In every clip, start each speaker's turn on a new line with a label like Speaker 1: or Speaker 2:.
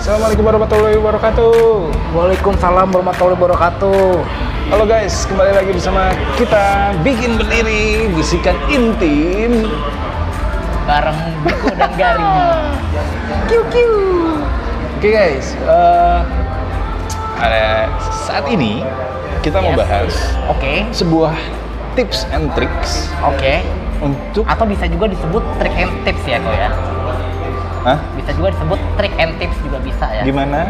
Speaker 1: Assalamualaikum warahmatullahi wabarakatuh.
Speaker 2: Waalaikumsalam warahmatullahi wabarakatuh.
Speaker 1: Halo guys, kembali lagi bersama kita bikin berdiri bisikan intim.
Speaker 2: Bareng Biko dan Garing.
Speaker 1: Oke guys, eh, ada- saat ini kita mau
Speaker 2: Yes.
Speaker 1: bahas
Speaker 2: Oke,
Speaker 1: sebuah tips and tricks
Speaker 2: oke.
Speaker 1: untuk
Speaker 2: Atau bisa juga disebut trick and tips ya kok ya.
Speaker 1: Hah?
Speaker 2: Bisa juga disebut trick and tips juga bisa ya.
Speaker 1: gimana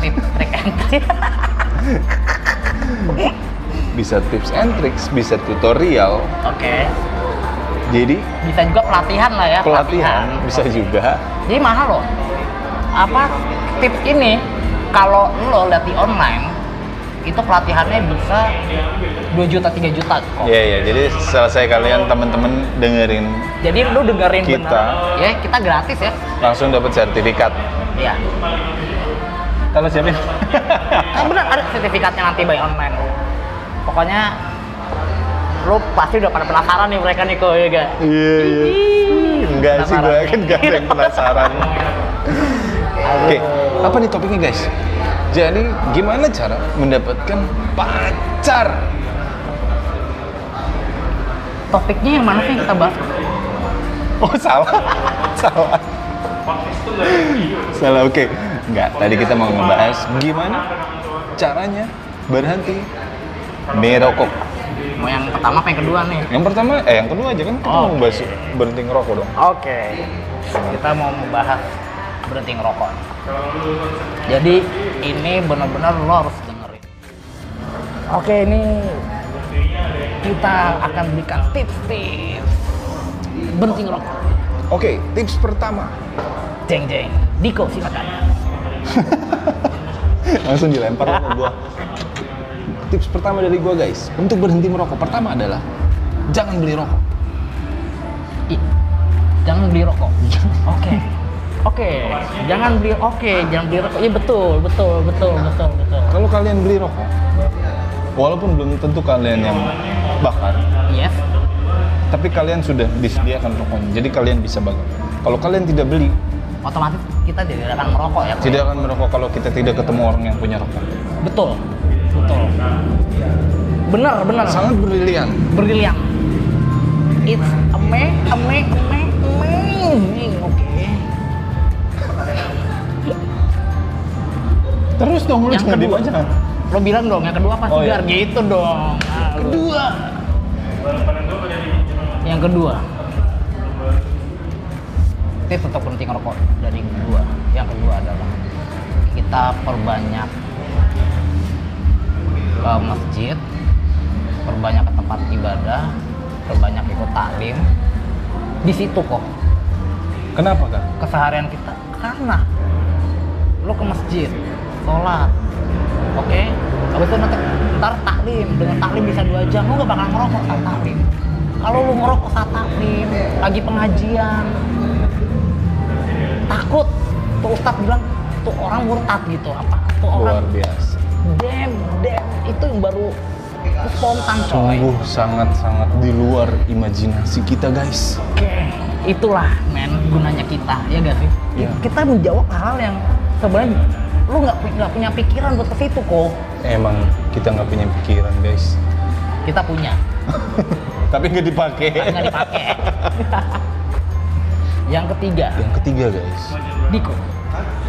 Speaker 2: Tip, trick and tips.
Speaker 1: bisa tips and tricks, bisa tutorial.
Speaker 2: oke.
Speaker 1: Jadi
Speaker 2: Bisa juga pelatihan lah ya.
Speaker 1: pelatihan bisa juga.
Speaker 2: Jadi mahal loh. Apa tips ini kalau lo lihat di online itu pelatihannya bisa 2 juta 3 juta kok.
Speaker 1: Iya iya, jadi selesai kalian teman-teman dengerin
Speaker 2: Jadi lu dengerin
Speaker 1: Kita.
Speaker 2: beneran. ya kita gratis ya.
Speaker 1: langsung dapat sertifikat.
Speaker 2: Iya.
Speaker 1: Kalau siapin?
Speaker 2: Nah, bener ada sertifikatnya nanti by online. Pokoknya lu pasti udah pada penasaran nih mereka nih kok ya gak?
Speaker 1: Iya iya. Enggak sih, gue
Speaker 2: Penasaran.
Speaker 1: yakin gak ada yang penasaran. Oke, apa nih topiknya guys? Jadi gimana cara mendapatkan pacar?
Speaker 2: Topiknya yang mana sih yang kita bahas?
Speaker 1: Oh salah, salah. salah oke. Enggak, tadi kita mau ngebahas gimana caranya berhenti merokok.
Speaker 2: Mau yang pertama apa yang kedua nih?
Speaker 1: Yang pertama, eh yang kedua aja kan kita mau
Speaker 2: Oh, Oke.
Speaker 1: bahas berhenti ngerokok dong.
Speaker 2: Oke. Kita mau membahas berhenti ngerokok. Jadi ini benar-benar lo harus dengerin. Oke, ini kita akan berikan tips-tips berhenti ngerokok.
Speaker 1: Oke, tips pertama.
Speaker 2: Jeng jeng. Diko silakan.
Speaker 1: Langsung dilempar sama gua. Tips pertama dari gua guys, untuk berhenti merokok pertama adalah jangan beli rokok.
Speaker 2: Ih, jangan beli rokok. Oke. Oke, jangan beli oke, jangan beli rokok. Iya betul, betul, betul, betul, betul.
Speaker 1: Kalau kalian beli rokok, walaupun belum tentu kalian yang bakar,
Speaker 2: Yes.
Speaker 1: tapi kalian sudah disediakan rokoknya, jadi kalian bisa bakar. Kalau kalian tidak beli,
Speaker 2: Otomatis kita tidak akan merokok ya.
Speaker 1: tidak akan merokok kalau kita tidak ketemu orang yang punya rokok.
Speaker 2: Betul. Betul. Benar, benar.
Speaker 1: Sangat brilian.
Speaker 2: Brilian. It's ame, ame, ame, amazing. hmm, Oke.
Speaker 1: Terus dong lu
Speaker 2: Yang
Speaker 1: jangan diem
Speaker 2: kedua.
Speaker 1: aja.
Speaker 2: Lo bilang dong, yang kedua apa
Speaker 1: Oh,
Speaker 2: segar?
Speaker 1: iya.
Speaker 2: Gitu dong. Ah, lu.
Speaker 1: Kedua,
Speaker 2: Yang kedua tips untuk berhenti ngerokok dari kedua. Yang kedua adalah kita perbanyak ke masjid, perbanyak ke tempat ibadah, perbanyak ikut taklim. Di situ kok
Speaker 1: kenapa kan?
Speaker 2: keseharian kita karena lo ke masjid sholat oke habis itu nanti ntar taklim dengan taklim bisa dua jam lo gak bakal ngerokok saat taklim kalau lo ngerokok saat taklim lagi pengajian takut tuh ustadz bilang tuh orang murtad gitu apa tuh orang
Speaker 1: Luar biasa.
Speaker 2: dem dem itu yang baru itu spontan coy
Speaker 1: Sungguh sangat-sangat di luar imajinasi kita guys.
Speaker 2: Oke, itulah men gunanya kita, ya gak sih?
Speaker 1: Iya.
Speaker 2: Kita menjawab hal yang sebenarnya lu nggak pu- nggak punya pikiran buat ke situ kok.
Speaker 1: Emang kita nggak punya pikiran guys.
Speaker 2: Kita punya,
Speaker 1: Tapi nggak dipakai.
Speaker 2: tapi nggak dipakai. yang ketiga,
Speaker 1: Yang ketiga guys,
Speaker 2: Diko.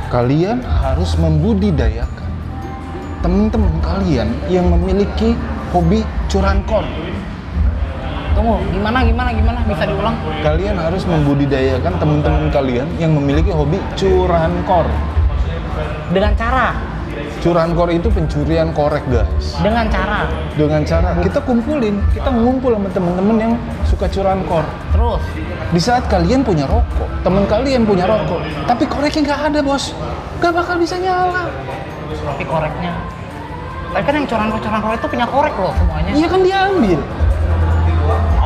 Speaker 1: kalian harus membudidayakan teman-teman kalian yang memiliki hobi curangkon.
Speaker 2: Tunggu, gimana gimana gimana bisa diulang?
Speaker 1: Kalian harus membudidayakan teman-teman kalian yang memiliki hobi curankor.
Speaker 2: Dengan cara,
Speaker 1: Curankor itu pencurian korek guys.
Speaker 2: dengan cara.
Speaker 1: Dengan cara kita kumpulin, kita ngumpul sama teman-teman yang suka curankor.
Speaker 2: Terus,
Speaker 1: Di saat kalian punya rokok, teman kalian punya rokok, tapi koreknya nggak ada bos, nggak bakal bisa nyala.
Speaker 2: tapi koreknya. Tapi kan yang corang-corang itu punya korek loh semuanya.
Speaker 1: Iya kan diambil.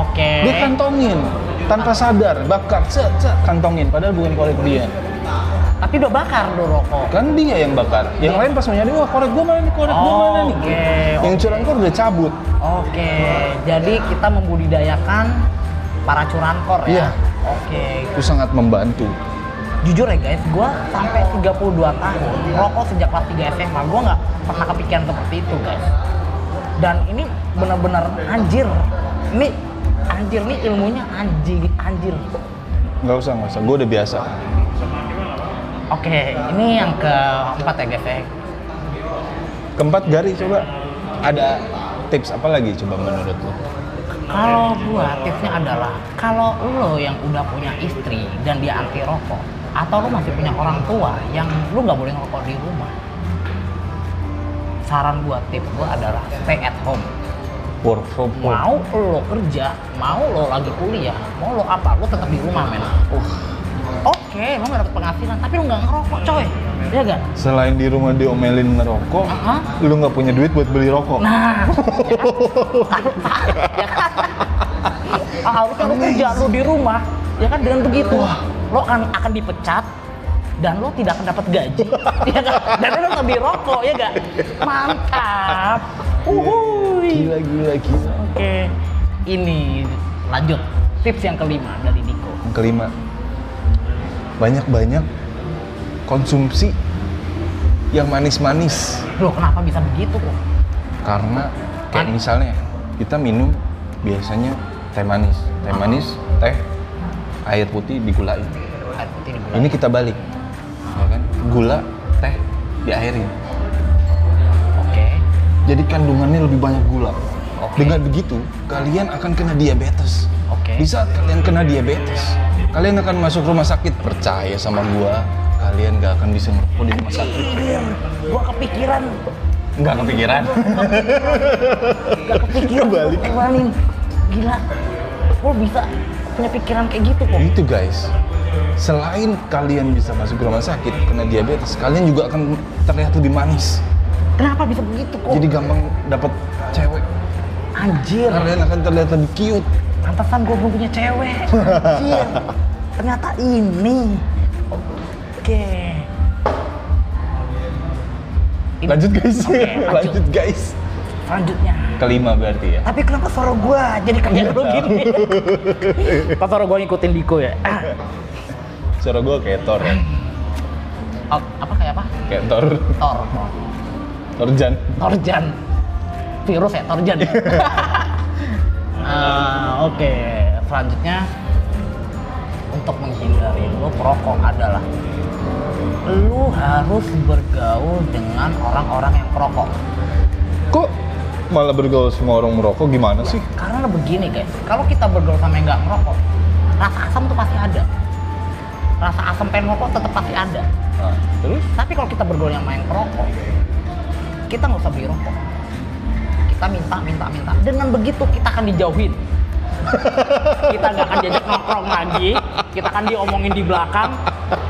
Speaker 2: Oke.
Speaker 1: dia kantongin tanpa sadar bakar cet cet kantongin padahal bukan korek dia
Speaker 2: Tapi udah bakar lo rokok.
Speaker 1: kan dia yang bakar yang lain pas mau nyari wah korek gua mana nih korek gua mana nih
Speaker 2: Oh, Oke,
Speaker 1: yang curang kor udah cabut
Speaker 2: Oke, jadi kita membudidayakan para curankor
Speaker 1: Iya.
Speaker 2: ya. Oke.
Speaker 1: Itu sangat membantu.
Speaker 2: Jujur ya guys, gue sampai 32 tahun rokok sejak kelas 3 SMA. Gue nggak pernah kepikiran seperti itu guys. Dan ini benar-benar anjir. Ini anjir nih ilmunya anjing anjir.
Speaker 1: Nggak usah, nggak usah. Gue udah biasa.
Speaker 2: Oke, ini yang keempat ya guys ya.
Speaker 1: Keempat, Gari, coba. Ada tips apa lagi coba menurut lo?
Speaker 2: Kalau gua tipsnya adalah kalau lo yang udah punya istri dan dia anti rokok atau lo masih punya orang tua yang lo nggak boleh ngerokok di rumah. Saran gua tips gua adalah stay at home.
Speaker 1: Work from home.
Speaker 2: Mau lo kerja, mau lo lagi kuliah, mau lo apa, lo tetap di rumah men. Uh. Oke, lo nggak dapet penghasilan, tapi lo nggak ngerokok coy. Iya kan?
Speaker 1: Selain di rumah diomelin ngerokok,
Speaker 2: Aha.
Speaker 1: lu nggak punya duit buat beli rokok.
Speaker 2: Nah, ya kan? Ah, harusnya lu kerja lu di rumah, ya kan dengan begitu lo akan akan dipecat dan lo tidak akan dapat gaji, ya kan? Dan lo tetap di rokok, ya gak? Mantap. Uhuy.
Speaker 1: Gila, gila, gila.
Speaker 2: Oke, ini lanjut tips yang kelima dari Diko.
Speaker 1: Yang kelima, banyak-banyak konsumsi yang manis-manis.
Speaker 2: Lo kenapa bisa begitu kok?
Speaker 1: Karena kayak
Speaker 2: Manis.
Speaker 1: misalnya kita minum biasanya teh manis, teh manis, teh, air putih digulain.
Speaker 2: Air putih dibuat.
Speaker 1: Ini kita balik, ya kan? Gula, teh, diairin.
Speaker 2: Oke.
Speaker 1: Jadi kandungannya lebih banyak gula.
Speaker 2: Oke.
Speaker 1: Dengan begitu, kalian akan kena diabetes.
Speaker 2: Oke.
Speaker 1: Di saat kalian kena diabetes, kalian akan masuk rumah sakit. Percaya sama gua, kalian gak akan bisa ngerokok di rumah sakit.
Speaker 2: Anjir, gua kepikiran,
Speaker 1: Nggak kepikiran.
Speaker 2: gak kepikiran.
Speaker 1: Kebalik.
Speaker 2: Kebalik. Gila, lo bisa punya pikiran kayak gitu kok.
Speaker 1: Itu guys, selain kalian bisa masuk ke rumah sakit kena diabetes, kalian juga akan terlihat lebih manis.
Speaker 2: Kenapa bisa begitu kok?
Speaker 1: Jadi gampang dapat cewek.
Speaker 2: anjir,
Speaker 1: Kalian akan terlihat lebih cute.
Speaker 2: pantesan gue belum punya cewek. Anjir, ternyata ini. Oke. Ini
Speaker 1: Lanjut guys.
Speaker 2: Oke, lanjut.
Speaker 1: Lanjut guys.
Speaker 2: Selanjutnya.
Speaker 1: Kelima berarti ya.
Speaker 2: Tapi kenapa suara gue jadi kayak
Speaker 1: Iya.
Speaker 2: lo gini? Pas suara gue ngikutin Diko ya?
Speaker 1: Suara gua kayak Thor ya.
Speaker 2: Oh, apa kayak apa?
Speaker 1: Kayak Thor,
Speaker 2: Tor.
Speaker 1: Thorjan.
Speaker 2: Torjan. Virus ya, Torjan. ya? Ah, Oke, selanjutnya untuk menghindari lu perokok adalah lu harus bergaul dengan orang-orang yang perokok.
Speaker 1: Kok malah bergaul semua orang merokok gimana sih?
Speaker 2: Karena begini guys, kalau kita bergaul sama yang nggak merokok, rasa asam tuh pasti ada. Rasa asam pengen merokok tetap pasti ada.
Speaker 1: Nah, terus?
Speaker 2: Tapi kalau kita bergaul sama yang perokok, kita nggak usah beli rokok. Kita minta, minta, minta. Dengan begitu kita akan dijauhin. kita nggak akan diajak nongkrong lagi. Kita akan diomongin di belakang.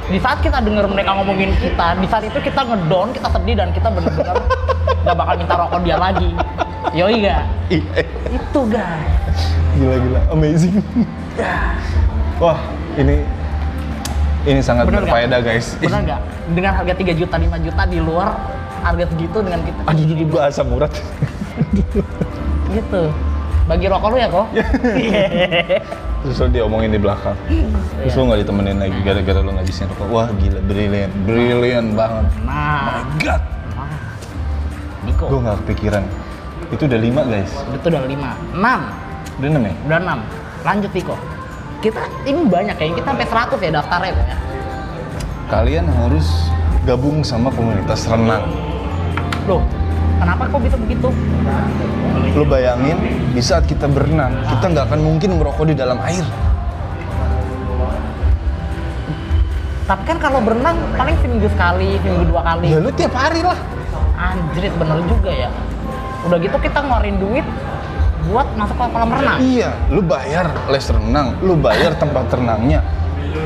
Speaker 2: Di saat kita denger mereka ngomongin kita, di saat itu kita ngedown, kita sedih dan kita bener-bener nggak bakal minta rokok dia lagi. Yoi gak?
Speaker 1: Iya.
Speaker 2: Itu guys.
Speaker 1: Gila-gila, amazing. Wah, ini ini sangat
Speaker 2: Bener nggak?
Speaker 1: berfaedah guys.
Speaker 2: Benar nggak? Dengan harga 3 juta, 5 juta di luar harga segitu dengan kita.
Speaker 1: Aduh, dulu bahasa murad.
Speaker 2: Gitu. Bagi rokok lu ya kok.
Speaker 1: Iya. Terus lo diomongin di belakang. Terus lo nggak ditemenin lagi gara-gara lo ngabisin rokok. Wah gila, brilliant, brilliant banget.
Speaker 2: Nah,
Speaker 1: God,
Speaker 2: nah.
Speaker 1: gue
Speaker 2: Diko,
Speaker 1: nggak kepikiran. Itu udah lima guys.
Speaker 2: itu udah lima, enam,
Speaker 1: Udah enam ya?
Speaker 2: udah enam. Lanjut Diko. Kita ini banyak ya, kita sampai 100 ya daftarnya Kok, ya.
Speaker 1: Kalian harus gabung sama komunitas renang.
Speaker 2: Loh, kenapa kok bisa begitu?
Speaker 1: Lo bayangin, di saat kita berenang, kita nggak akan mungkin merokok di dalam air.
Speaker 2: Tapi kan kalau berenang paling seminggu sekali, seminggu dua kali.
Speaker 1: Ya lo tiap hari lah.
Speaker 2: Anjrit bener juga ya. Udah gitu kita ngeluarin duit buat masuk ke kolam renang.
Speaker 1: Iya, lu bayar les renang, lu bayar tempat renangnya,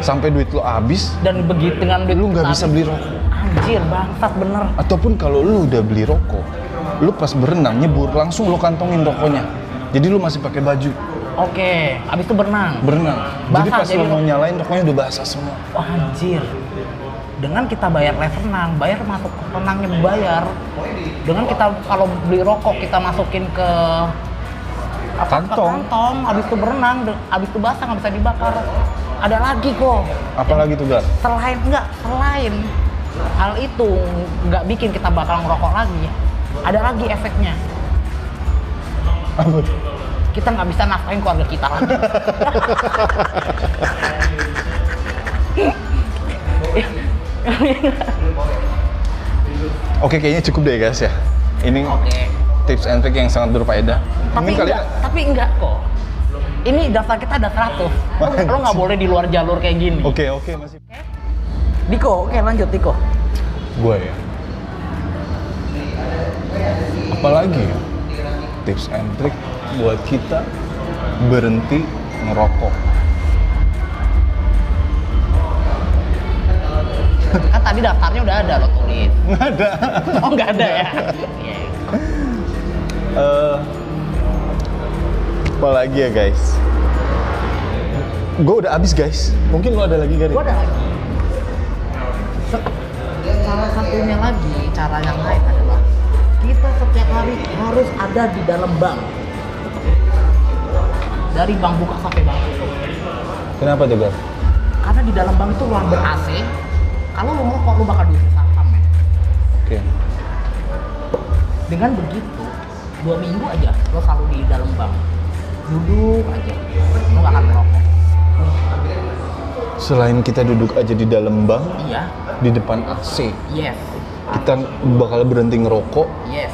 Speaker 1: sampai duit lu habis,
Speaker 2: Dan begitu dengan duit
Speaker 1: lu nggak
Speaker 2: kita-
Speaker 1: bisa beli rokok.
Speaker 2: Anjir, bangsat bener.
Speaker 1: Ataupun kalau lu udah beli rokok, lu pas berenang nyebur langsung lu kantongin rokoknya. Jadi lu masih pakai baju
Speaker 2: Oke, abis itu berenang.
Speaker 1: berenang. jadi
Speaker 2: Basah,
Speaker 1: pas lu
Speaker 2: jadi-
Speaker 1: mau nyalain rokoknya udah basah semua.
Speaker 2: Wah, anjir. Dengan kita bayar les renang, bayar masuk ke renangnya bayar. Dengan kita kalau beli rokok kita masukin ke Apa,
Speaker 1: Kantong.
Speaker 2: kantong, habis itu berenang, de- habis itu basah nggak bisa dibakar. Ada lagi kok.
Speaker 1: Apalagi tuh, Gar?
Speaker 2: Selain enggak, selain hal itu nggak bikin kita bakal ngerokok lagi. Ada lagi efeknya.
Speaker 1: Apa tuh?
Speaker 2: Kita nggak bisa nafkahin keluarga kita lagi.
Speaker 1: Oke, kayaknya cukup deh guys ya. Ini tips and trick yang sangat berfaedah. Mungkin
Speaker 2: Tapi enggak,
Speaker 1: kalian
Speaker 2: tapi enggak kok. Ini daftar kita ada 100. Lo- Lo nggak boleh di luar jalur kayak gini.
Speaker 1: Oh, Oke, oke, masih.
Speaker 2: Diko, oke lanjut Diko.
Speaker 1: Gue ya. Apalagi ya? Tips and trick buat kita berhenti ngerokok.
Speaker 2: Kan tadi daftarnya udah ada lo tulis.
Speaker 1: Nggak ada.
Speaker 2: Oh nggak ada ya? Iya.
Speaker 1: Eh, apalagi ya guys? Gue udah habis guys. Mungkin lo ada lagi gak nih?
Speaker 2: Gua ada lagi. Se- Salah satunya lagi, cara yang lain adalah kita setiap hari harus ada di dalam bank. Dari bank buka sampai bank tutup.
Speaker 1: Kenapa tuh, Gar?
Speaker 2: Karena di dalam bank itu ruang ber AC. Kalau lo ngerokok lo bakal diusir satpam men.
Speaker 1: Oke.
Speaker 2: Dengan begitu, dua minggu aja lo selalu di dalam bank. Duduk aja, lo gak akan merokok.
Speaker 1: Selain kita duduk aja di dalam bank,
Speaker 2: Iya,
Speaker 1: di depan AC,
Speaker 2: yes,
Speaker 1: kita bakal berhenti ngerokok
Speaker 2: yes,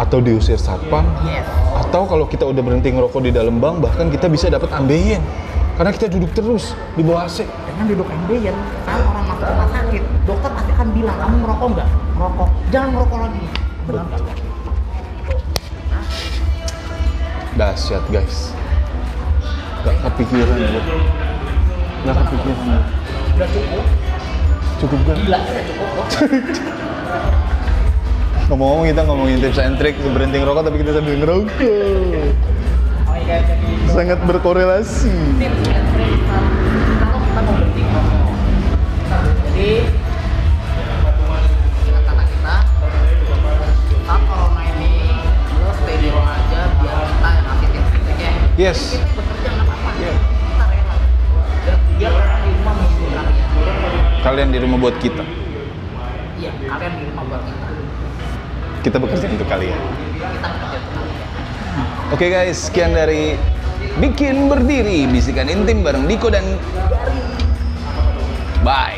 Speaker 1: atau diusir satpam
Speaker 2: yes.
Speaker 1: atau kalau kita udah berhenti ngerokok di dalam bank bahkan kita bisa dapat ambeien karena kita duduk terus di bawah AC
Speaker 2: Dengan duduk ambeien, saat orang masuk rumah sakit, dokter pasti akan bilang, kamu merokok nggak? Merokok. Jangan merokok lagi. Benar nggak?
Speaker 1: dahsyat guys gak kepikiran gue gak kepikiran gua.
Speaker 2: Udah cukup,
Speaker 1: cukup kan
Speaker 2: gila, udah cukup. kok.
Speaker 1: ngomong-ngomong kita ngomongin tips and trick berhenti ngerokok tapi kita sambil ngerokok sangat berkorelasi
Speaker 2: Tips and trick kalau kita mau berhenti ngerokok. Jadi ingat kata kita, saat corona ini lo stay di rumah aja biar kita yang ngasih tips and trick ya.
Speaker 1: Yes.
Speaker 2: Tips and trick bekerja nggak apa-apa.
Speaker 1: Iya.
Speaker 2: Kita rela. Biar- Biar orang di rumah menghibur kalian.
Speaker 1: kalian di rumah buat kita
Speaker 2: Iya, kalian di rumah buat kita.
Speaker 1: kita bekerja untuk kalian
Speaker 2: Kita bekerja untuk kalian.
Speaker 1: Oke guys, sekian dari Bikin Berdiri, bisikan intim bareng Diko dan Bye.